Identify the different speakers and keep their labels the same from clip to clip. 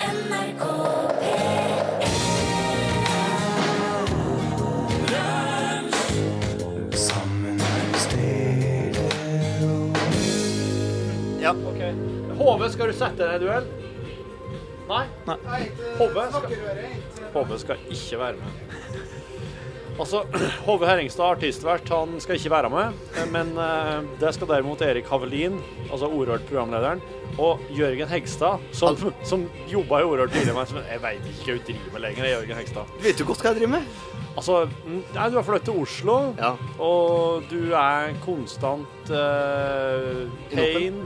Speaker 1: NRK
Speaker 2: Ja.
Speaker 3: Hove, skal du sette deg i duell? Nei? Hove skal, Hove skal ikke være med. Altså, Hove Herringstad, artistvert, han skal ikke være med. eh, Men eh, det skal derimot Erik Havelin, altså Orørt-programlederen, og Jørgen Hegstad, som, som jobba i Orørt tidligere, men som jeg veit ikke hva hun driver med lenger. Jørgen Hegstad.
Speaker 2: Vet du godt hva jeg driver med?
Speaker 3: Altså, mm, nei, du har flyttet til Oslo,
Speaker 2: Ja.
Speaker 3: og du er konstant eh, pain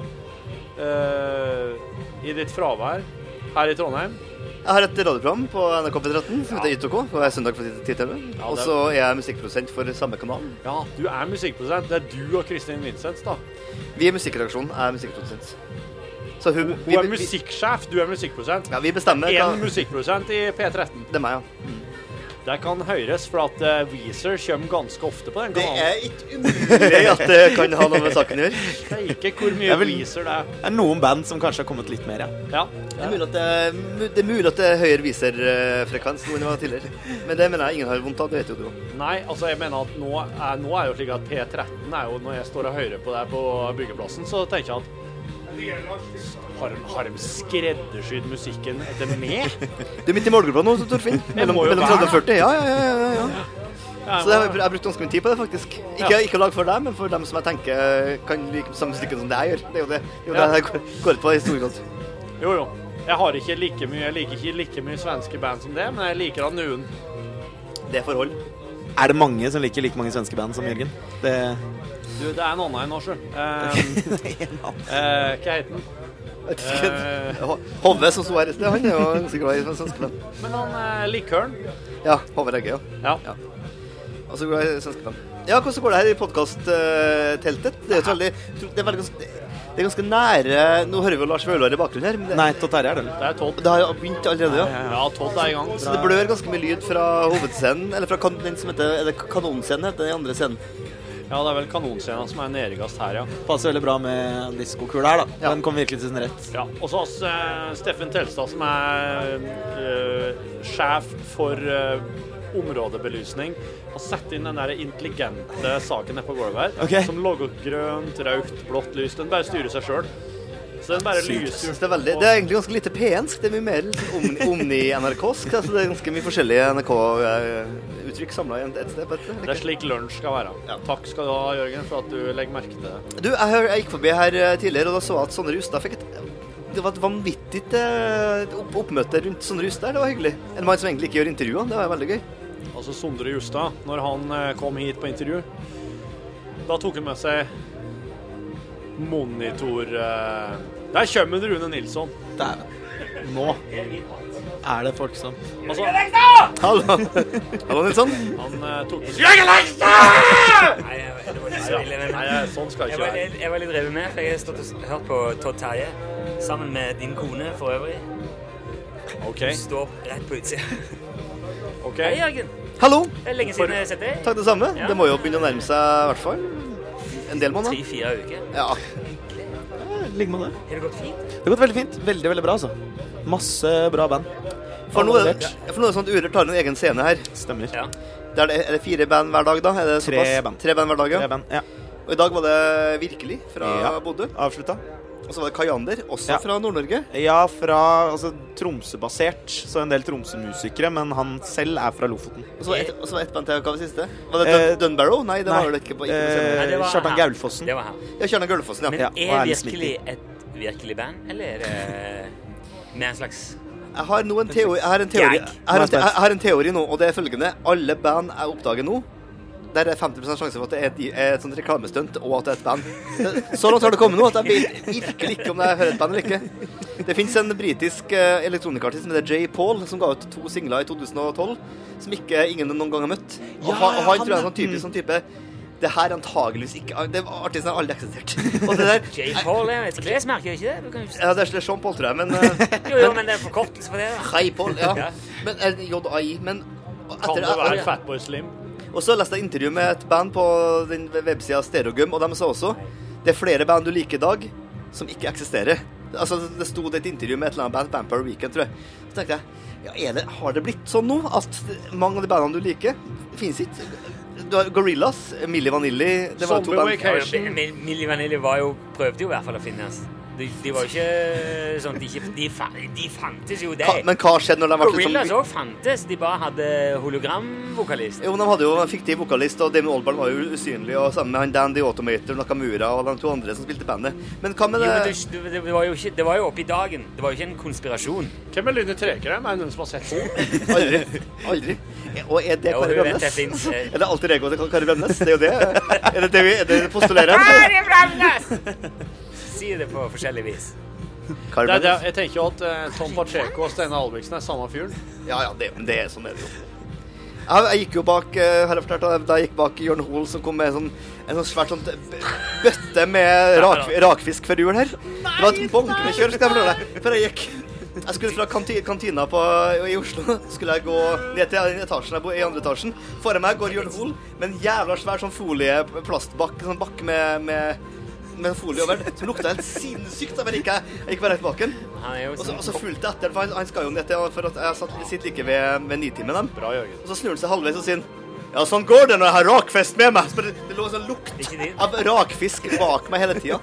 Speaker 3: eh, i ditt fravær her i Trondheim.
Speaker 2: Jeg har et radioprogram på NRK P13 som heter YTK, og er søndag fra 10 til 11.
Speaker 3: Ja,
Speaker 2: Og
Speaker 3: det-
Speaker 2: så er jeg musikkprodusent for samme kanal.
Speaker 3: Ja, du er musikkprodusent. Det er du og Kristin Vincents, da.
Speaker 2: Vi i musikkredaksjonen er musikkprodusent. Så hun
Speaker 3: Hun er musikksjef, du er musikkprodusent.
Speaker 2: Ja, vi bestemmer
Speaker 3: Én
Speaker 2: hva
Speaker 3: musikkprodusent i P13.
Speaker 2: Det er meg, ja.
Speaker 3: Det kan høres, for at eh, Weezer kommer ganske ofte på den
Speaker 4: Det
Speaker 3: kanalen.
Speaker 4: er ikke umulig.
Speaker 2: Grei at det kan ha noe med saken å gjøre.
Speaker 3: Det er ikke hvor mye
Speaker 4: Jeg vil-
Speaker 3: Weezer det er.
Speaker 4: Det er noen band som kanskje har kommet litt mer, ja.
Speaker 3: Ja.
Speaker 2: Det er mulig at det er, mu- det er, mulig at det er høyere viserfrekvens nå enn det var tidligere. Men det mener jeg ingen har vondt av. Det vet jo du òg.
Speaker 3: Nei, altså jeg mener at nå er, nå er jo slik at P13 er jo Når jeg står og hører på deg på byggeplassen, så tenker jeg at har de, har de skreddersydd musikken etter meg?
Speaker 2: Du er midt i målgruppa nå, så Torfinn. Mellom,
Speaker 3: må jo
Speaker 2: mellom
Speaker 3: være
Speaker 2: 30 og 40. Ja, ja, ja. ja, ja. Så jeg,
Speaker 3: Jeg
Speaker 2: jeg har brukt ganske mye tid på det, faktisk. Ikke,
Speaker 3: Ja.
Speaker 2: ikke lag for deg, men for dem som jeg tenker kan like samme stykke som det jeg gjør. Det er jo det, det, er jo
Speaker 3: Ja.
Speaker 2: det jeg går- går ut på i stor grad.
Speaker 3: må- Jo, jo. Jeg har ikke like mye, jeg liker ikke like mye svenske band som det, men jeg liker da noen.
Speaker 2: Det er forhold.
Speaker 4: Er det mange som liker like mange svenske band som Jørgen? Det
Speaker 3: Du, det er en annen enn oss, sjø. Eh, eh, Hva heter den?
Speaker 2: Jeg vet ikke.
Speaker 3: Eh.
Speaker 2: Ho- Hove, som sto her i sted, han er jo ganske glad i svenske band.
Speaker 3: Men han eh, likøren.
Speaker 2: Ja, Hove Regge, ja.
Speaker 3: Ja.
Speaker 2: Ja. Altså glad i svenske band. Ja, hvordan går det her i podkast-teltet? Det er jo et veldig Det er, veldig, gans- det er ganske nære Nå hører vi jo Lars Vaular i bakgrunnen her, men det,
Speaker 4: Nei, Tott Terje er det. vel?
Speaker 3: Det er Todd.
Speaker 2: det har jo begynt allerede, ja.
Speaker 3: Ja, Todd er i gang.
Speaker 2: Så det blør ganske mye lyd fra hovedscenen, eller fra kan, den som heter Er det kanonscenen heter den andre scenen?
Speaker 3: Ja, det er vel kanonscena som er nedergast her, ja.
Speaker 4: Passer veldig bra med diskokula her, da.
Speaker 2: Ja.
Speaker 4: Den kom virkelig til sin rett.
Speaker 3: Ja, og så har vi eh, Steffen Telstad, som er eh, sjef for eh, områdebelysning, og setter inn den der intelligente saken nede på gulvet her,
Speaker 4: Ok.
Speaker 3: som lager grønt, rødt, blått lys. Den bare styrer seg sjøl. Så den bare lyser.
Speaker 2: Det er, veldig, det er egentlig ganske lite P1-sk. Det er mye mer liksom omni- omni-NRK-sk. altså det er ganske mye forskjellige NRK-uttrykk samla i en- et sted. på et
Speaker 3: Det
Speaker 2: sted.
Speaker 3: er slik lunsj skal være. Takk skal du ha, Jørgen, for at du legger merke til det.
Speaker 2: Du, jeg, hør- jeg gikk forbi her eh, tidligere, og da så jeg at Sondre Justad fikk et Det var et vanvittig eh, opp oppmøte rundt Sondre Justad. Det var hyggelig. En mann som egentlig ikke gjør intervjuer. Det var veldig gøy.
Speaker 3: Altså Sondre Justad, når han eh, kom hit på intervju, da tok han med seg monitor... eh, Der kommer Rune Nilsson.
Speaker 4: Der. Nå er det folk som
Speaker 3: Altså, eh,
Speaker 2: Hallo, Hallo Nilsson.
Speaker 3: han eh, tok med seg
Speaker 5: Jeg er lei seg!
Speaker 6: Nei, jeg- det var litt
Speaker 3: Ja,
Speaker 6: så ille, men-
Speaker 3: Nei, jeg- sånn skal det
Speaker 6: Jeg
Speaker 3: ikke
Speaker 6: var,
Speaker 3: være.
Speaker 6: jeg, jeg var litt revet med, for jeg har stått og s- hørt på Todd Terje sammen med din kone for øvrig.
Speaker 3: OK.
Speaker 6: Hun står rett på utsida.
Speaker 3: ok.
Speaker 6: Hei, Jørgen.
Speaker 2: Hallo.
Speaker 6: Det er lenge siden jeg har sett deg.
Speaker 2: Takk det samme.
Speaker 6: Ja.
Speaker 2: Det må jo begynne å nærme seg i hvert fall en del måneder.
Speaker 6: Tre-fire uker.
Speaker 2: Ja.
Speaker 4: Ligger med det.
Speaker 6: Har det gått fint?
Speaker 4: Det har gått veldig fint. Veldig, veldig bra, altså. Masse bra band.
Speaker 2: For nå er det,
Speaker 4: Involvert.
Speaker 2: for nå er det sånn at Urørt har en egen scene her.
Speaker 4: Stemmer.
Speaker 6: Ja.
Speaker 2: Der det, er det fire band hver dag, da? Er det
Speaker 4: Tre
Speaker 2: såpass?
Speaker 4: band.
Speaker 2: Tre band hver dag, ja.
Speaker 4: Tre band. Ja.
Speaker 2: Og i dag var det Virkelig fra
Speaker 4: Ja.
Speaker 2: Bodø.
Speaker 4: Avslutta.
Speaker 2: Og så var det Kayander, også
Speaker 4: Ja.
Speaker 2: fra Nord-Norge.
Speaker 4: Ja, fra altså, Tromsø-basert, så en del Tromsø-musikere, men han selv er fra Lofoten.
Speaker 2: Og så var det et, og så var det ett band til. Hva var det siste? Var det
Speaker 4: Eh,
Speaker 2: Dun- Dunbarrow? Nei, det var
Speaker 4: nei. Eh,
Speaker 2: vel ikke på ikke på scenen.
Speaker 6: Nei, det var
Speaker 4: Kjartan
Speaker 6: her.
Speaker 4: Gaulfossen.
Speaker 6: Det var her.
Speaker 2: Ja, Kjernan Gullfossen,
Speaker 6: Men
Speaker 2: ja.
Speaker 4: Ja, og
Speaker 6: er
Speaker 4: Erlend
Speaker 6: virkelig et virkelig band, eller er det mer en slags
Speaker 2: Jeg har nå en teori, jeg har en teori, jeg
Speaker 6: Gag.
Speaker 2: har en,
Speaker 4: Nå er jeg spent.
Speaker 2: jeg har en teori nå, og det er følgende. Alle band jeg oppdager nå, der er 50 sjanse for at det er et, er et sånt reklamestunt, og at det er et band. Så langt har det kommet nå at jeg vet virkelig ikke om jeg hører et band eller ikke. Det fins en britisk eh, elektronikartist som heter Jay Paul, som ga ut to singler i 2012 som ikke ingen noen gang har møtt. Og,
Speaker 4: Ja,
Speaker 2: han, og han
Speaker 4: han-
Speaker 2: tror jeg er sånn typisk sånn type det her er antageligvis ikke det, Artisten har aldri eksistert. Og det der
Speaker 6: J. Paul er et klesmerke, ikke det? Du kan jo ikke...
Speaker 4: Eh,
Speaker 2: ja, Det er Sean Paul, tror jeg, men eh,
Speaker 6: Jo, jo, men det er en forkortelse for det. da.
Speaker 2: Hei, Paul. Ja.
Speaker 6: Ja.
Speaker 2: Men eh, JAI. Men
Speaker 3: Kan
Speaker 2: etter,
Speaker 3: det være Fatboy Slim?
Speaker 2: Og så leste jeg intervju med et band på den websida Stereogum, og de sa også det er flere band du liker i dag, som ikke eksisterer. altså, det sto det et intervju med et eller annet band, Vampire Weekend, tror jeg. Så tenkte jeg, ja, er det, har det blitt sånn nå at mange av de bandene du liker, finnes ikke? Du har Gorillas, Milli Vanilli, det var
Speaker 3: Zombie
Speaker 2: to band.
Speaker 3: Vacation.
Speaker 6: Ja, Mil- Milli Vanilli var jo, prøvde jo i hvert fall å finnes. De, de var jo ikke sånn De, ikke, de, fa, de fantes jo, de.
Speaker 2: Ka, men hva skjedde når de ble litt
Speaker 6: Gorillas
Speaker 2: sånn...
Speaker 6: òg fantes. De bare hadde hologramvokalist.
Speaker 2: Jo, de hadde jo en fiktiv vokalist, og Damon Albarn var jo usynlig, og sammen med han Dan The Automator, Nakamura og de to andre som spilte i bandet. Men hva med
Speaker 6: Jo,
Speaker 2: det...
Speaker 6: men det, det, det var jo ikke Det var jo oppe i dagen. Det var jo ikke en konspirasjon.
Speaker 3: Hvem er Lynet Trekrem? Er det noen som har sett henne?
Speaker 2: Aldri. Aldri. Og er det
Speaker 6: Jo,
Speaker 2: Kari
Speaker 6: hun vet det
Speaker 2: Bremnes?
Speaker 6: finnes, eh.
Speaker 2: Er det alltid Rego til Kari Bremnes? Det er jo det. Er det det vi er det vi postulerer?
Speaker 6: Kari Bremnes! Si det på forskjellig vis.
Speaker 2: Kari
Speaker 3: Det er det,
Speaker 2: Bremnes?
Speaker 3: jeg tenker jo at eh, Tom Pacheco og Steinar Albrigtsen er samme fyren.
Speaker 2: Ja, ja, det, men det er sånn er det jo. Jeg, jeg gikk jo bak eh, har jeg fortalt, da jeg gikk bak Jørn Hoel, som kom med en sånn, en sånn svært sånn b- bøtte med rak, rakfisk før jul her. Det var et bonk med kjør, skal jeg fortelle deg. Før jeg gikk. Jeg skulle fra kanti, kantina på, i Oslo. Skulle jeg gå ned til den etasjen jeg bor i, andre etasjen. Foran meg går Jørn Hoel med en jævla svær sånn folie, plastbakk, sånn bakk med, med med folie over den, som lukta helt sinnssykt. Jeg bare gikk, jeg, jeg gikk bare rett bak den.
Speaker 6: Han er jo
Speaker 2: Og så, og så
Speaker 6: sånn
Speaker 2: fulgte jeg etter, for han, han skal jo ned til For at jeg satt, sitter like ved, ved nitimen dem.
Speaker 3: Bra, Jørgen.
Speaker 2: Og så snur han seg halvveis og sier han, Ja, sånn går det når jeg har rakfest med meg. Så bare, det lå en sånn
Speaker 6: Ikke
Speaker 2: lukt
Speaker 6: det?
Speaker 2: av rakfisk bak meg hele tida.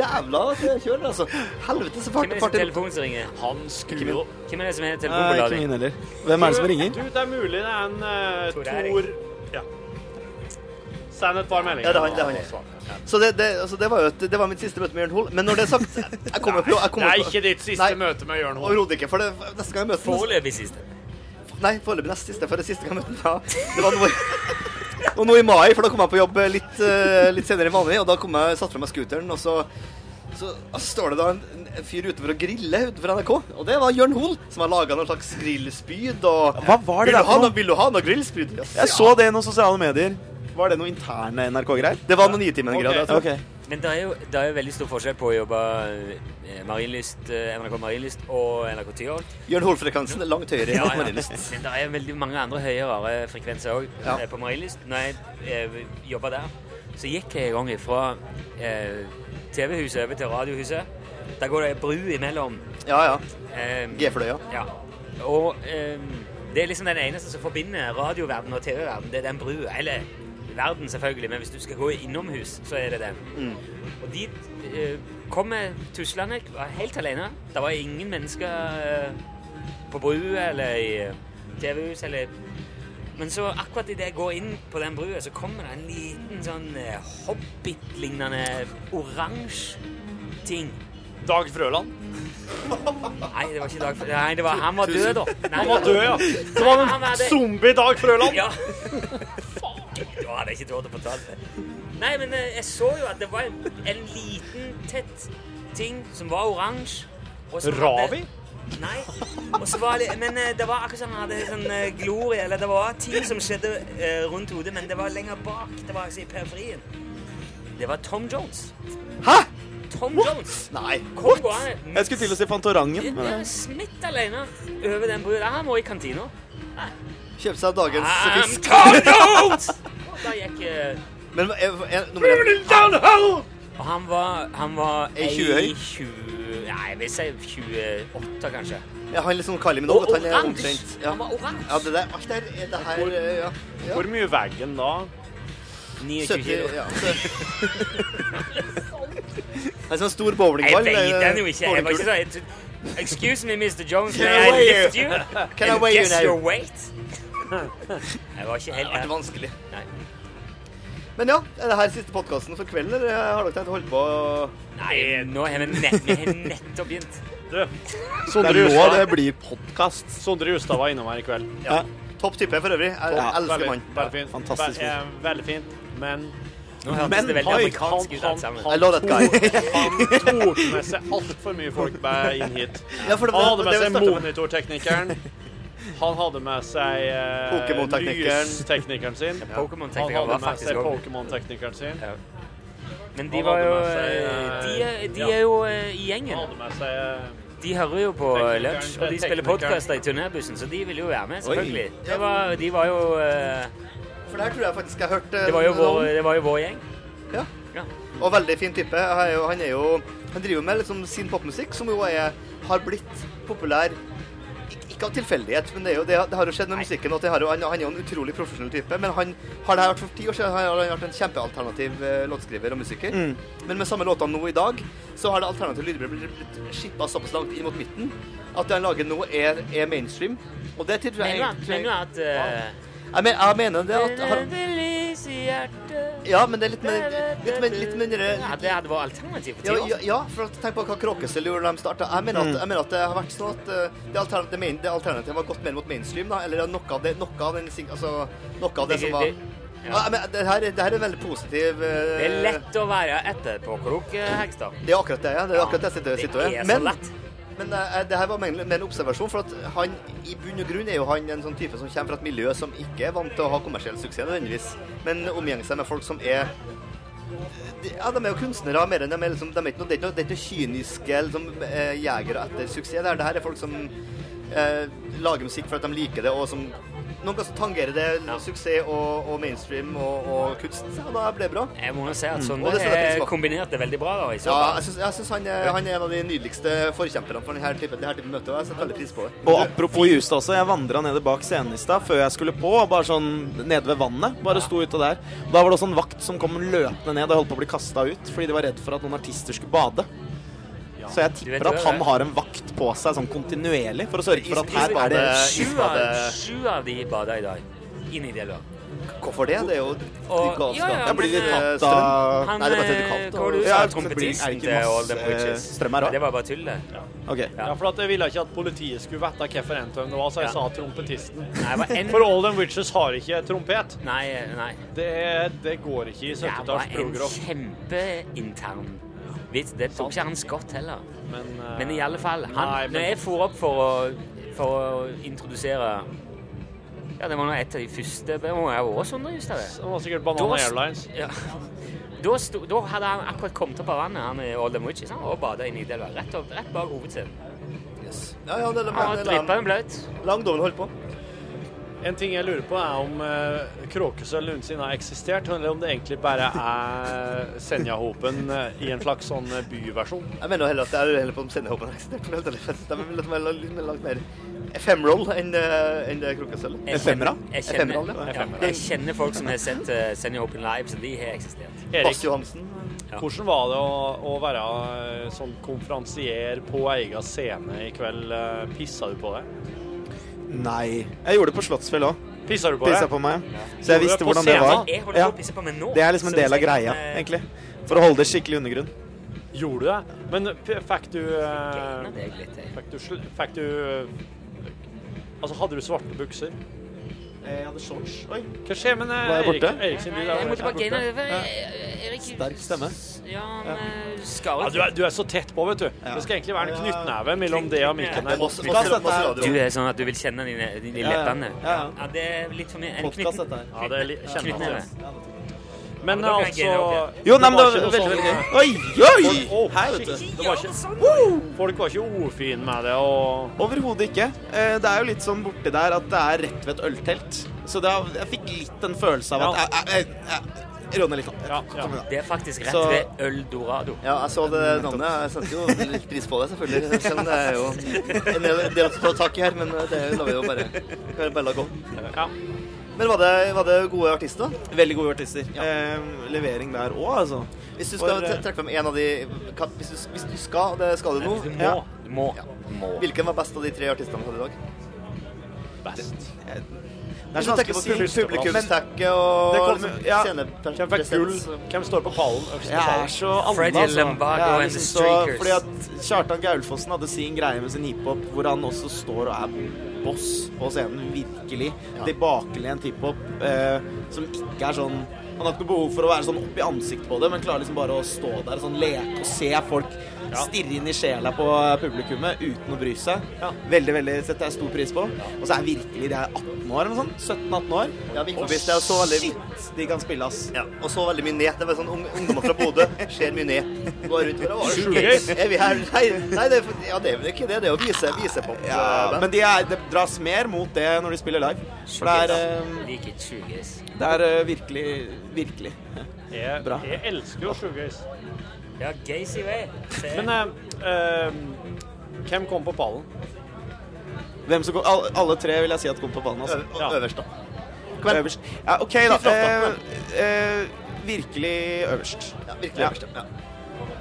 Speaker 2: Jævla kjør, altså. Helvete, så
Speaker 6: Hvem
Speaker 2: fart
Speaker 6: er det som
Speaker 2: fart det
Speaker 6: telefonen som ringer?
Speaker 3: Han skrur opp.
Speaker 6: Hvem er det som er
Speaker 4: Nei, ikke
Speaker 6: telefonbeladet?
Speaker 4: min heller. Hvem er det som ringer?
Speaker 3: Du, det er mulig det er en eh,
Speaker 6: Tor Erik.
Speaker 3: Tor Ja. Send et par meldinger.
Speaker 2: Ja, det er han, det er han.
Speaker 3: han.
Speaker 2: Så det, det, altså, det var jo et, det var mitt siste møte med Jørn Hoel. Men når det er sagt Jeg kommer på jeg
Speaker 3: Det
Speaker 2: kommer
Speaker 3: er
Speaker 2: på-
Speaker 3: ikke ditt siste
Speaker 2: Nei.
Speaker 3: møte med Jørn Hoel.
Speaker 2: Overhodet ikke. For det, neste gang jeg møter ham
Speaker 6: Foreløpig siste.
Speaker 2: Nei, foreløpig nest siste, for det siste gang jeg møtte ham. Ja. Det var noe, og nå i mai, for da kom jeg på jobb litt, eh, litt senere enn vanlig, og da kom jeg, satt fra meg scooteren, og så, så står det da en, en fyr utenfor og griller utenfor NRK, og det var Jørn Hoel, som har laget noen slags grillspyd, og...
Speaker 4: Hva var det
Speaker 2: vil,
Speaker 4: der
Speaker 2: du ha
Speaker 4: for noe?
Speaker 2: noe, vil du ha noe grillspyd? Yes.
Speaker 4: Jeg så det i noen sosiale medier. Var det noe interne NRK-greier?
Speaker 2: Det var noen altså. 9-timen
Speaker 3: Ok.
Speaker 2: grad, jeg tror.
Speaker 4: Ok.
Speaker 6: Men det er, jo, det er jo veldig stor forskjell på å jobbe eh, Marienlyst, eh, NRK Marienlyst og NRK Tyholt.
Speaker 2: Jørn Hoel-frekansen er langt høyere. enn
Speaker 6: Men
Speaker 2: Marienlyst.
Speaker 6: det er veldig mange andre høyere frekvenser òg
Speaker 2: Ja.
Speaker 6: eh, på Marienlyst. Når jeg eh, jobba der, så gikk jeg en gang fra eh, TV-huset over til radiohuset. Der går det ei bru imellom.
Speaker 2: Ja, ja.
Speaker 6: Eh,
Speaker 2: G-fløya.
Speaker 6: ja. Og eh, det er liksom den eneste som forbinder radioverden og TV-verden. Det er den brua. Eller verden, selvfølgelig, men hvis du skal gå innomhus, så er det den. Og dit eh, kom jeg tuslende, var helt alene. Det var ingen mennesker eh, på brua eller i eh, TV-hus eller men så akkurat idet jeg går inn på den brua, så kommer det en liten sånn eh, hobbit-lignende oransje ting.
Speaker 3: Dag Frøland.
Speaker 6: Nei, det var ikke Dag Fre- Nei, det var, han var død, da. Nei,
Speaker 3: Han var død, ja. Det var
Speaker 6: Han
Speaker 3: en
Speaker 6: er det.
Speaker 3: zombie Dag Frøland.
Speaker 6: Ja. Faen, da hadde jeg ikke tort å fortelle det. Nei, men eh, jeg så jo at det var en, en liten, tett ting som var oransje. og som hadde-
Speaker 3: Ravi?
Speaker 6: Nei. Og så var det, men eh, det var akkurat som han hadde sånn eh, glorie, eller det var ting som skjedde eh, rundt hodet, men det var lenger bak. Det var altså i periferien. Det var Tom Jones.
Speaker 2: Hæ?
Speaker 6: Tom Jones.
Speaker 2: Nei.
Speaker 6: Kom gående.
Speaker 4: Jeg skulle til å si Fantorangen. men det-
Speaker 6: Smitt alene over den brua. Han må i kantina.
Speaker 2: Kjøp seg dagens
Speaker 6: I'm
Speaker 2: fisk.
Speaker 6: Tom Jones! Og da gikk... eh,
Speaker 2: Men er, er, nummer én-
Speaker 6: Og han var Han var
Speaker 2: Er 20 høy?
Speaker 6: ei 20 Nei, jeg vil si 28, kanskje.
Speaker 2: Ja, han er litt sånn Kylie
Speaker 6: Og
Speaker 2: Minogue. vet du, Han er
Speaker 6: oransje!
Speaker 2: omtrent. Ja.
Speaker 6: Han var
Speaker 2: Ja,
Speaker 6: oransje.
Speaker 2: det der, alt der, er det her, eh, ja. ja.
Speaker 3: Hvor mye veggen da?
Speaker 6: 29
Speaker 2: 70,
Speaker 6: kilo.
Speaker 2: ja. Det er sånn stor bowlingball.
Speaker 6: Jeg vet den jo ikke. Jeg var ikke
Speaker 2: bowlingkule.
Speaker 6: sånn jeg- Excuse me, Mr. Jones,
Speaker 2: Can
Speaker 6: may
Speaker 2: I
Speaker 6: I
Speaker 2: weigh
Speaker 6: lift you?
Speaker 2: Can I
Speaker 6: And
Speaker 2: weigh you
Speaker 6: guess
Speaker 2: now?
Speaker 6: your weight? Jeg var ikke
Speaker 2: Det har vært
Speaker 6: helt
Speaker 2: vanskelig.
Speaker 6: Nei.
Speaker 2: Men ja, er det her siste podkasten for kvelden, eller eh, har dere tenkt å holde på?
Speaker 6: Nei, nå har vi nett, vi har nettopp begynt.
Speaker 3: Du,
Speaker 4: Det
Speaker 3: Sondre
Speaker 4: er nå det
Speaker 3: Justad,
Speaker 4: blir podkast.
Speaker 3: Sondre Justad var innom her i kveld.
Speaker 4: Ja.
Speaker 2: Topp type for øvrig. Jeg
Speaker 4: Ja,
Speaker 2: elsker
Speaker 3: Veldig,
Speaker 2: mannen.
Speaker 3: veldig fint.
Speaker 4: Fantastisk
Speaker 3: Ve- eh, Veldig fint. Men
Speaker 6: Nå hørtes
Speaker 4: Men,
Speaker 6: det veldig
Speaker 4: oi,
Speaker 6: amerikansk
Speaker 3: han-
Speaker 6: ut alt sammen.
Speaker 3: han-
Speaker 2: I love that guy.
Speaker 3: han tok med seg altfor mye folk med inn hit.
Speaker 2: Ja, for det,
Speaker 3: Han hadde
Speaker 2: det,
Speaker 3: med seg
Speaker 2: det, det, det,
Speaker 3: monitorteknikeren. Han hadde med seg eh,
Speaker 2: Pokémon-teknikeren.
Speaker 3: lysteknikeren sin. Han
Speaker 6: Pokémon-teknikeren
Speaker 3: hadde
Speaker 6: var
Speaker 3: med
Speaker 6: faktisk
Speaker 3: seg
Speaker 6: også-
Speaker 3: Pokémon-teknikeren sin.
Speaker 6: Men de
Speaker 3: Han
Speaker 6: var
Speaker 3: hadde
Speaker 6: jo
Speaker 3: med seg,
Speaker 6: eh, De er, de
Speaker 3: ja.
Speaker 6: er jo eh, i
Speaker 3: Han
Speaker 6: gjengen.
Speaker 3: hadde med seg eh,
Speaker 6: De hører jo på
Speaker 3: Teknikeren,
Speaker 6: lunsj, og de spiller
Speaker 3: teknikeren.
Speaker 6: podkaster i turnébussen, så de ville jo være med, selvfølgelig.
Speaker 2: Ja.
Speaker 6: Det var, de var jo eh,
Speaker 2: for det her tror jeg faktisk jeg har hørt eh,
Speaker 6: Det var jo
Speaker 2: noen-
Speaker 6: vår, det var jo vår gjeng.
Speaker 2: Ja.
Speaker 6: Ja.
Speaker 2: Og veldig fin type. Han er jo, han er jo Han driver med liksom sin popmusikk, som jo er, har blitt populær Ik- ikke av tilfeldighet, men det, er jo, det, det har jo skjedd med musikken. at det har jo, han, han er jo en utrolig profesjonell type, men han har det her vært for ti år siden. Han har han vært en kjempealternativ eh, låtskriver og musiker. Men med samme låtene nå i dag, så har det alternative lydbildet blitt, blitt skippa såpass langt inn mot midten at det han lager nå, er, er mainstream. Og det tror jeg
Speaker 6: Mener du at- mener du at eh,
Speaker 2: jeg, men, jeg mener det at har,
Speaker 6: Det er lys i hjertet
Speaker 2: Ja, men det er litt med litt med, litt med den der-
Speaker 6: Ja, det hadde vært alternativ på
Speaker 2: ja,
Speaker 6: ti
Speaker 2: ja,
Speaker 6: år.
Speaker 2: ja, for at, tenk på hva Kråkesølv gjorde da de starta. Jeg, mener at-
Speaker 6: Mm.
Speaker 2: jeg mener at det har vært sånn at eh, det alternativet, det main, det alternativet har gått mer mot mainstream, da. Eller noe av det, noe av den, sing- altså, noe av det som var
Speaker 6: Det- det- ja.
Speaker 2: ja. men det, her, er- det her er en veldig positiv eh,
Speaker 6: Det er lett å være etterpåklok, eh, Hegstad.
Speaker 2: Det er akkurat det, ja. Det er akkurat det jeg sitter, sitter og
Speaker 6: Det
Speaker 2: er.
Speaker 6: er så
Speaker 2: Men,
Speaker 6: lett.
Speaker 2: men eh, det her var mer mer en observasjon, for at han i bunn og grunn er jo han en sånn type som kommer fra et miljø som ikke er vant til å ha kommersiell suksess nødvendigvis, men omgjenger seg med folk som er de- ja, de er jo kunstnere mer enn de er liksom, de er ikke noe, det er ikke noe, det er ikke noe kyniske liksom, eh, jegere etter suksess. Det her, det her er folk som eh, lager musikk for at de liker det, og som noen ganger tangerer det suksess og, og mainstream og, og kunst. Og da blir det bra.
Speaker 6: Jeg må jo si at
Speaker 2: Mm. Og
Speaker 6: Sondre
Speaker 2: det setter jeg pris
Speaker 6: har
Speaker 2: på.
Speaker 6: kombinert det veldig bra. da, i så
Speaker 2: Ja,
Speaker 6: fall.
Speaker 2: jeg syns, jeg synes han, er, han er en av de nydeligste forkjemperne for denne typen, denne typen møte, og jeg setter veldig pris på det.
Speaker 4: Og apropos just også, jeg vandra nede bak scenen i stad før jeg skulle på, og bare sånn nede ved vannet. Bare sto ute der. Og da var det også en vakt som kom løpende ned og holdt på å bli kasta ut fordi de var redd for at noen artister skulle bade. Så jeg
Speaker 6: Du vet
Speaker 4: tipper
Speaker 6: det,
Speaker 4: at han
Speaker 6: det.
Speaker 4: har en vakt på seg sånn kontinuerlig for å sørge for at her er det
Speaker 2: Isbade-
Speaker 6: Sju av,
Speaker 2: isbade-
Speaker 6: sju av de bada i dag. Inn i det løpet.
Speaker 2: Hvorfor det? Det er jo de
Speaker 6: Og-
Speaker 2: galskap.
Speaker 6: ja, ja,
Speaker 4: Jeg blir litt
Speaker 6: men,
Speaker 2: eh,
Speaker 4: tatt av
Speaker 6: Han,
Speaker 2: Nei, det er bare at det er
Speaker 6: eh,
Speaker 2: kaldt,
Speaker 6: hva var
Speaker 2: og-
Speaker 6: det du
Speaker 4: Ja, det blir-
Speaker 6: sa?
Speaker 4: er
Speaker 6: Trompetisten
Speaker 4: det ikke
Speaker 6: til All Them
Speaker 4: masse,
Speaker 6: Witches.
Speaker 4: eh, strøm her også?
Speaker 6: Det var bare tull, det.
Speaker 4: OK.
Speaker 3: Ja, for at jeg ville ikke at politiet skulle vite hvilken NTM det var, så jeg
Speaker 6: Ja.
Speaker 3: sa trompetisten.
Speaker 6: Nei, det var en,
Speaker 3: For All Them Witches har ikke trompet.
Speaker 6: nei, nei.
Speaker 3: Det, det går ikke i
Speaker 6: Det var
Speaker 3: 70-talls
Speaker 6: en
Speaker 3: progrock.
Speaker 6: kjempeintern vits. Det tok ikke han skott heller.
Speaker 3: Men, eh,
Speaker 6: Men i alle fall,
Speaker 3: Nei,
Speaker 6: han,
Speaker 3: men-
Speaker 6: når jeg for opp for å, for å introdusere Ja, det var nå et av de første Det må jeg også Sondre Justad.
Speaker 3: Det var sikkert Banana Airlines.
Speaker 6: Ja. Da, sto, da hadde han akkurat kommet opp av vannet, han i All Them Witches, han, og bada i Nidelva. Rett, opp- rett bak hovedscenen.
Speaker 2: Yes. Ja, ja, det er,
Speaker 6: Han var
Speaker 2: det er,
Speaker 6: drippende bløt.
Speaker 2: lang dommen holdt på.
Speaker 3: En ting jeg lurer på, er om eh, Kråkesølv noensinne har eksistert, eller om det egentlig bare er Senjahopen eh, i en slags sånn eh, byversjon.
Speaker 2: Jeg mener jo heller at det er heller på om Sennehopen har eksistert. for helt ærlig. De er vel litt mer- litt mer- langt mer ephemeral enn eh, enn det krokesølvet.
Speaker 6: Jeg
Speaker 4: Femmer, da?
Speaker 6: kjenner- Jeg
Speaker 2: Femmer,
Speaker 6: kjenner,
Speaker 2: da?
Speaker 6: ja, jeg kjenner folk som har sett uh, Senior Open Live, så de har eksistert.
Speaker 3: Erik,
Speaker 2: Bass Johansen.
Speaker 6: Ja.
Speaker 3: hvordan var det å, å være eh, sånn konferansier på egen scene i kveld? eh, Pissa du på det?
Speaker 4: Nei. Jeg gjorde det på Slottsfjell òg.
Speaker 3: Pissa du på
Speaker 4: Pissa
Speaker 3: det?
Speaker 4: på meg. Så jeg visste hvordan det var.
Speaker 6: Jeg holder
Speaker 4: Ja.
Speaker 6: på å pisse på meg nå.
Speaker 4: Det er liksom
Speaker 6: så
Speaker 4: en del av
Speaker 6: hvis jeg kan,
Speaker 4: greia,
Speaker 6: eh,
Speaker 4: egentlig. For å holde det skikkelig undergrunn.
Speaker 3: Gjorde du det? Men eh, p- fikk du
Speaker 6: gainer
Speaker 3: eh,
Speaker 6: deg litt, jeg.
Speaker 3: Fikk du, sl- fikk du eh, Altså, hadde du svarte bukser?
Speaker 4: Jeg hadde shorts. Oi.
Speaker 3: Hva skjer med eh,
Speaker 4: Var jeg
Speaker 3: Erik,
Speaker 4: borte?
Speaker 3: Eriksen?
Speaker 6: Nei,
Speaker 3: Du,
Speaker 6: Jeg måtte bare gaine
Speaker 3: borte.
Speaker 6: over. Erik
Speaker 4: Sterk stemme.
Speaker 6: Ja,
Speaker 4: Ja.
Speaker 6: men eh,
Speaker 3: Ja,
Speaker 6: skarret.
Speaker 3: du, er, du er så tett på, vet du. Det skal egentlig være en knyttneve mellom det og mikken. her.
Speaker 2: Masse,
Speaker 4: Plass,
Speaker 2: masse,
Speaker 4: dette
Speaker 2: masse
Speaker 4: er-
Speaker 2: radio.
Speaker 6: Du er sånn at du vil kjenne dine, dine
Speaker 4: Ja, ja.
Speaker 6: leppene.
Speaker 4: Ja, ja.
Speaker 6: det er litt for mye. En
Speaker 4: Podcast,
Speaker 6: knytten-
Speaker 4: dette her.
Speaker 3: Ja, det er litt- kjenner jeg
Speaker 6: knyttneve.
Speaker 3: det. Men
Speaker 6: Ja, men da kan jeg
Speaker 3: altså
Speaker 6: ikke
Speaker 4: Jo, nei, men det var
Speaker 3: ikke noe sånn-
Speaker 4: veldig, veldig gøy. Oi, oi!
Speaker 3: Å,
Speaker 4: Her, vet du.
Speaker 3: shit, det var ikke- Folk var ikke ordfine med det, og
Speaker 4: Overhodet ikke. Eh, Det er jo litt sånn borti der at det er rett ved et øltelt. Så det er, jeg fikk litt den følelsen av at jeg, jeg, jeg, jeg rådner litt nå.
Speaker 3: Ja, ja.
Speaker 4: Kom igjen, da.
Speaker 6: Det er faktisk rett
Speaker 4: Så-
Speaker 6: ved Øldorado.
Speaker 2: Ja, jeg så det navnet. Jeg setter jo litt pris på det, selvfølgelig. Selv om det er jo en del- del å ta tak i her, men det lar vi jo bare, kan vi bare la gå.
Speaker 3: ja.
Speaker 2: Men var det, var det gode artister?
Speaker 4: Veldig gode artister. Eh, levering der òg, altså.
Speaker 2: Hvis du
Speaker 3: For,
Speaker 2: skal
Speaker 3: eh,
Speaker 2: tre- trekke frem en av de ka- Hvis du, hvis du skal, og det skal du nå
Speaker 6: Du må.
Speaker 4: Ja.
Speaker 6: Du må. må.
Speaker 2: Hvilken var best av de tre artistene vi hadde i dag?
Speaker 3: Best.
Speaker 4: Det
Speaker 2: Hvis du tenker på pub-
Speaker 4: si.
Speaker 2: publikumstekket og
Speaker 4: Det kommer-
Speaker 2: liksom,
Speaker 4: ja.
Speaker 3: Hvem fikk gull?
Speaker 2: scenepresens
Speaker 3: Hvem står på pallen? Øverst på
Speaker 4: Jeg er
Speaker 3: pallen?
Speaker 4: så anna,
Speaker 6: Freddie Lombardo
Speaker 4: Jeg er
Speaker 6: and the
Speaker 4: liksom, så-
Speaker 6: Streakers.
Speaker 4: Fordi at Kjartan Gaulfossen hadde sin greie med sin hiphop, hvor han også står og er boss på scenen, virkelig. Tilbakelent hiphop, eh, som ikke er sånn Han har ikke noe behov for å være sånn opp i ansiktet på det, men klarer liksom bare å stå der og sånn leke og se folk stirre inn i sjela på eh, publikummet uten å bry seg.
Speaker 3: Ja.
Speaker 4: Veldig, veldig setter jeg stor pris på. Og så er virkelig de er 18 år eller noe sånt. 17-18 år.
Speaker 2: Ja, vi
Speaker 4: Og
Speaker 2: forbi, det er så veldig
Speaker 4: shit, de kan spille, ass.
Speaker 2: ja, og så veldig mye ned. Det var sånn ung- ungdommer fra Bodø ser mye ned. Går rundt og bare,
Speaker 3: Shoegaze?
Speaker 2: Er vi her? Nei, nei det, er, for- ja, det er vel ikke det. Det er jo vise, vise på.
Speaker 4: Ja, men de er, det dras mer mot det når de spiller live. For det er, eh,
Speaker 6: altså. Like tjugis.
Speaker 4: det er eh, virkelig, virkelig.
Speaker 3: Jeg,
Speaker 4: Bra.
Speaker 3: jeg elsker jo shoegaze.
Speaker 6: Ja, Gacy Way. Se.
Speaker 3: Men eh, eh, hvem kom på pallen?
Speaker 4: Hvem som kom, alle, alle tre vil jeg si at kom på ballen. Altså.
Speaker 3: Ja.
Speaker 2: Øverst, da. Kom igjen.
Speaker 4: Øverst. Ja, OK, da.
Speaker 2: Fy flate.
Speaker 4: Eh, eh, virkelig øverst.
Speaker 2: Ja, virkelig
Speaker 4: Ja.
Speaker 2: øverst. Ja.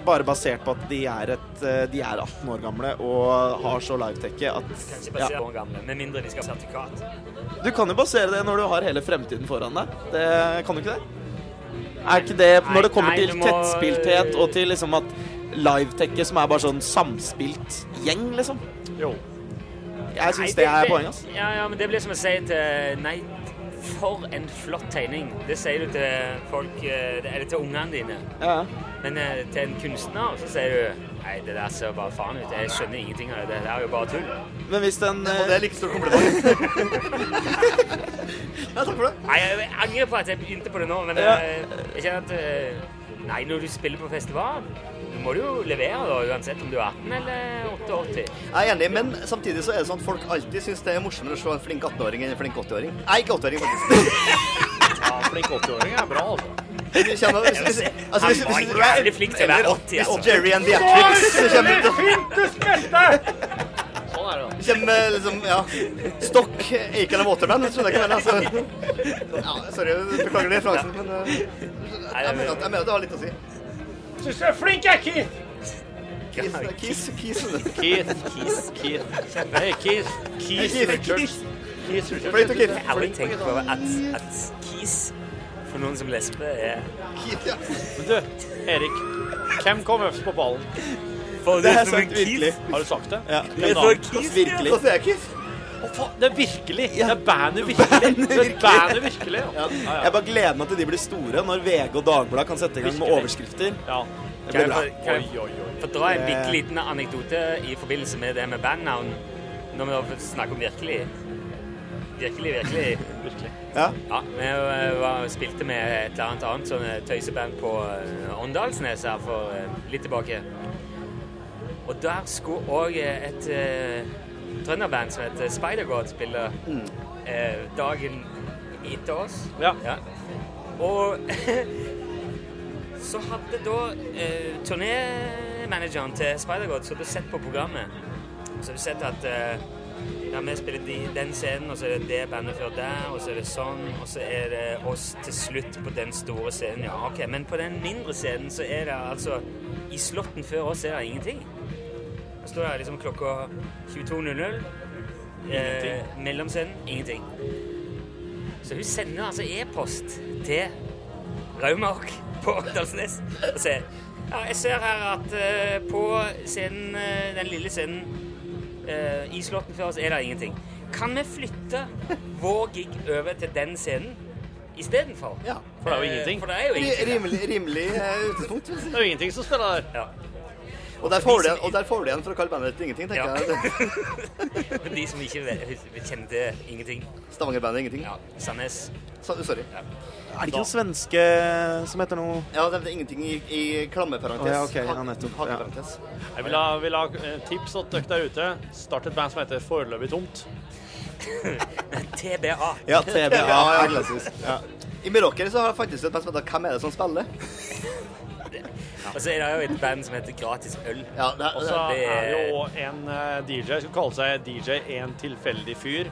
Speaker 4: Bare basert på at de er, et, eh, de er 18 år gamle og har så livetekke at
Speaker 6: Kanskje
Speaker 4: ja.
Speaker 6: basert på den gamle, med mindre de skal ha sertifikat.
Speaker 4: Du kan jo basere det når du har hele fremtiden foran deg. Det, kan du ikke det? Er ikke det
Speaker 6: Nei,
Speaker 4: Når det kommer
Speaker 6: nei,
Speaker 4: til
Speaker 6: du må-
Speaker 4: tettspilthet og til liksom at livetekke som er bare sånn samspilt gjeng, liksom.
Speaker 3: Jo.
Speaker 4: Jeg
Speaker 6: Nei,
Speaker 4: syns det er poenget, ass.
Speaker 6: Ja, ja, men det blir som å si til Nei, for en flott tegning. Det sier du til folk eh, Eller til ungene dine.
Speaker 4: Ja.
Speaker 6: Men eh, til en kunstner så sier du Nei, det der ser bare faen ut. Jeg skjønner ingenting av det. Det er jo bare tull.
Speaker 4: Men hvis den
Speaker 2: Ja. Og det
Speaker 4: eh,
Speaker 2: er like stort kompliment. ja, takk for det.
Speaker 6: Nei, jeg jeg angrer på at jeg begynte på det nå, men
Speaker 4: Ja.
Speaker 6: eh, jeg kjenner at eh, Nei, når du spiller på festival, du må du jo levere da, uansett om du er 18 eller 88.
Speaker 2: Jeg er enig, men samtidig så er det sånn at folk alltid syns det er morsommere å se en flink 18-åring enn en flink 80-åring. Nei, ikke 80-åring, faktisk.
Speaker 3: Ja, flink 80-åring er bra, altså.
Speaker 2: Du kjenner, hvis, hvis, altså, hvis, hvis,
Speaker 6: Han var jævlig flink til å være 80,
Speaker 2: hvis
Speaker 6: altså.
Speaker 2: Jerry and the Atrix kommer ut og
Speaker 3: Sånn er det.
Speaker 2: Kjem med liksom, ja Stokk, Acon og Waterman, skjønner jeg ikke hva jeg mener. Altså. Ja, sorry, beklager det referansen, men eh, jeg mener, at, jeg mener at det har litt å si.
Speaker 3: Syns du er flink, jeg, Keith?
Speaker 2: Kis, kis, kis. Fløyt
Speaker 3: Keith. Keith. Keith. Hei, Keith. Keith
Speaker 2: Keith.
Speaker 3: Richards. Keith Richards.
Speaker 2: og kis.
Speaker 6: Jeg har aldri tenkt på at, at kis for noen som lesber er
Speaker 2: Kis, ja.
Speaker 3: Men du, Erik. Hvem kom øverst på ballen?
Speaker 6: For
Speaker 4: Det har jeg
Speaker 6: du som en
Speaker 4: sagt virkelig.
Speaker 6: kis-
Speaker 3: Har du sagt det?
Speaker 4: Ja.
Speaker 3: Hvem da?
Speaker 6: For kis,
Speaker 4: Virkelig.
Speaker 2: Så sier jeg kis.
Speaker 3: Å, faen, det er virkelig! Det er bandet virkelig! Det er bandet virkelig, ja. Ja, ja.
Speaker 4: Jeg bare gleder meg til de blir store, når VG og Dagbladet kan sette i gang med
Speaker 3: Virkelig.
Speaker 4: overskrifter.
Speaker 3: ja.
Speaker 4: Det
Speaker 6: Kan
Speaker 4: blir
Speaker 6: jeg
Speaker 4: bra.
Speaker 6: få-
Speaker 3: Oi,
Speaker 6: kan jeg
Speaker 3: oi, oi.
Speaker 6: få dra en
Speaker 4: Det-
Speaker 6: bitte liten anekdote i forbindelse med det med bandnavn? Når vi da snakker om virkelig. Virkelig, virkelig.
Speaker 3: Virkelig.
Speaker 4: Ja.
Speaker 6: Ja, vi eh, var, spilte med et eller annet annet sånn eh, tøyseband på eh, Åndalsnes her for eh, litt tilbake. Og der skulle òg et eh, trønderband som heter Spider-God spille
Speaker 4: Mm.
Speaker 6: eh, dagen etter oss.
Speaker 3: Ja.
Speaker 6: Og så hadde da eh, turnémanageren til Spider-God så hadde sett på programmet. Så hadde sett at eh, ja, vi spiller de, den scenen, og så er det det bandet før der, og så er det sånn, og så er det oss til slutt på den store scenen. Ja, ok, men på den mindre scenen så er det altså I slåtten før oss er det ingenting. Og så står det liksom klokka 22.00. Eh, mellomscenen ingenting. Så hun sender altså e-post til Raumark på Åndalsnes og sier ja, jeg ser her at eh, på scenen, eh, den lille scenen eh, i Slåtten før oss er det ingenting. Kan vi flytte vår gig over til den scenen istedenfor?
Speaker 2: Ja.
Speaker 3: For det er jo ingenting.
Speaker 6: Eh, For det er jo
Speaker 2: Ri-
Speaker 6: ingenting.
Speaker 2: Rimelig, rimelig eh, utgangspunkt, vil jeg si.
Speaker 3: Det er jo ingenting som spiller der.
Speaker 6: Ja.
Speaker 2: Og der får du igjen, og der får du igjen for å kalle bandet ditt ingenting,
Speaker 6: Ja.
Speaker 2: tenker jeg.
Speaker 6: For de som ikke vet- kjenner til ingenting.
Speaker 2: Stavanger-bandet ingenting.
Speaker 6: Ja, Sandnes.
Speaker 2: Så, sorry.
Speaker 4: Er det ikke noen svenske som heter noe
Speaker 2: Ja, det er ingenting i, i klammeparentes.
Speaker 4: Å, ja, ok, ja,
Speaker 2: Ha-
Speaker 4: nettopp, ja.
Speaker 2: Hakeparentes.
Speaker 3: Jeg vil ha, vil ha eh, tips til dere der ute. Start et band som heter Foreløpig tomt.
Speaker 6: TBA.
Speaker 4: Ja, TBA.
Speaker 2: Ja, ja, klassisk. I Meråker så har jeg faktisk et band som heter Hvem er det som spiller?
Speaker 6: Og så er det jo et band som heter Gratis øl.
Speaker 2: Ja, det,
Speaker 3: Og
Speaker 2: det,
Speaker 3: så
Speaker 6: det
Speaker 3: er
Speaker 6: er-
Speaker 3: det jo en eh, DJ som kaller seg DJ En tilfeldig fyr.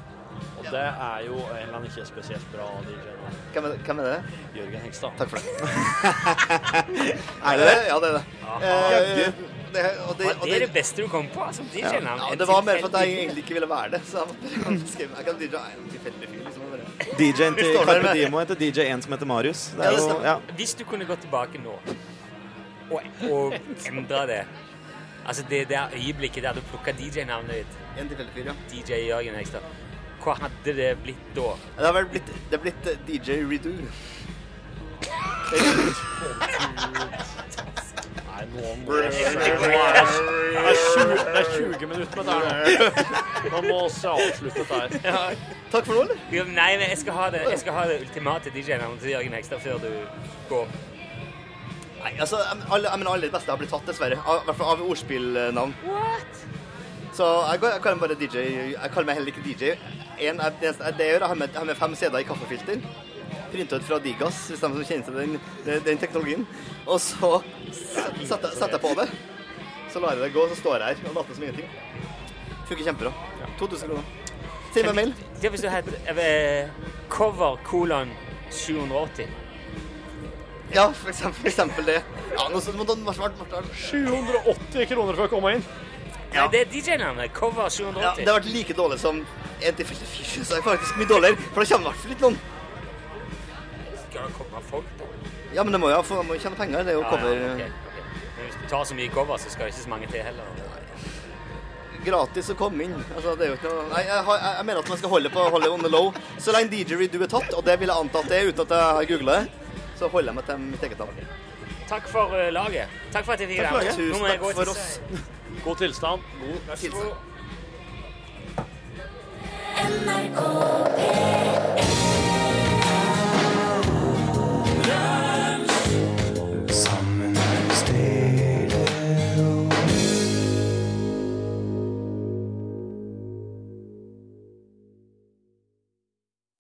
Speaker 3: Og det er jo en eller annen ikke spesielt bra DJ. da.
Speaker 2: hvem, er, hvem er det?
Speaker 3: Jørgen Hegstad.
Speaker 2: Takk for det. er det det? Ja, det er det. Eh, det, og det, og
Speaker 6: Det er det beste du kom på som DJ-navn.
Speaker 2: ja, det var mer for at jeg egentlig ikke ville være det. Så jeg måtte skrive Jeg kan DJ er en tilfeldig fyr, liksom. og bare-
Speaker 4: DJ-en til
Speaker 2: Står der
Speaker 4: Carpe
Speaker 2: med-
Speaker 4: Diem heter DJ en som heter Marius. Det
Speaker 2: Ja,
Speaker 4: er
Speaker 2: det
Speaker 4: jo,
Speaker 2: stemmer.
Speaker 4: ja.
Speaker 6: Hvis du kunne gått tilbake nå og, og endre det Altså det der øyeblikket der du plukka DJ-navnet ditt,
Speaker 2: En tilfeldig fyr, ja.
Speaker 6: DJ Jørgen Hegstad, hva hadde det blitt da?
Speaker 2: Det har vel blitt, det er blitt eh, DJ Redo.
Speaker 3: Nei, nå må vi Det er 20, det er 20 minutter med det her nå. Nå må vi avslutte dette her.
Speaker 2: Takk for nå, eller?
Speaker 6: Jo, Nei, men jeg skal ha det, jeg skal ha det ultimate DJ-navnet til Jørgen Hegstad før du går.
Speaker 2: Nei, altså, jeg- alle, jeg mener alle de beste har blitt tatt, dessverre. Av, I hvert fall av ordspillnavn. Så jeg, går, jeg kaller meg bare DJ. Jeg kaller meg heller ikke DJ. En, jeg, det eneste jeg det gjør, jeg har med, jeg har med fem CD-er i kaffefilter. printa ut fra Digas, hvis de som kjenner til den, den- den teknologien. Og så set- setter jeg- setter jeg på det. Så lar jeg det gå, så står jeg her og later som ingenting. Funker kjempebra. 2000 kroner. Send meg mail.
Speaker 6: Ja, hvis du heter eh, cover kolon 780.
Speaker 2: Ja, for eksempel, for eksempel det. Ja, nå må du ha svart, Martha.
Speaker 3: 780 kroner for å komme inn.
Speaker 6: Nei, det er DJ-navnet. Cover 780.
Speaker 2: Ja, det har vært like dårlig som en tilfeldig fyr, så er det faktisk mye dårligere, for det kommer i hvert fall litt lån.
Speaker 6: Skal det komme folk på?
Speaker 2: Ja, men det må jo ha- få- må jo tjene penger, det er jo cover...
Speaker 6: Ah, Ja, ok, ok. Men hvis du tar så mye cover, så skal det ikke så mange til heller.
Speaker 2: gratis å komme inn. Altså, det er jo ikke noe... Nei, jeg, har- jeg, jeg mener at man skal holde på holde on the low. Så lenge didgeridoo er tatt, og det vil jeg anta at det er uten at jeg har googla det, så holder jeg meg til mitt eget tall.
Speaker 6: Takk for eh, laget. Takk for at jeg fikk
Speaker 2: Takk for
Speaker 6: være med.
Speaker 2: laget.
Speaker 6: Nå må jeg
Speaker 2: Tusen
Speaker 6: gå
Speaker 2: takk for
Speaker 6: til-
Speaker 2: oss.
Speaker 3: God tilstand.
Speaker 2: God tilstand.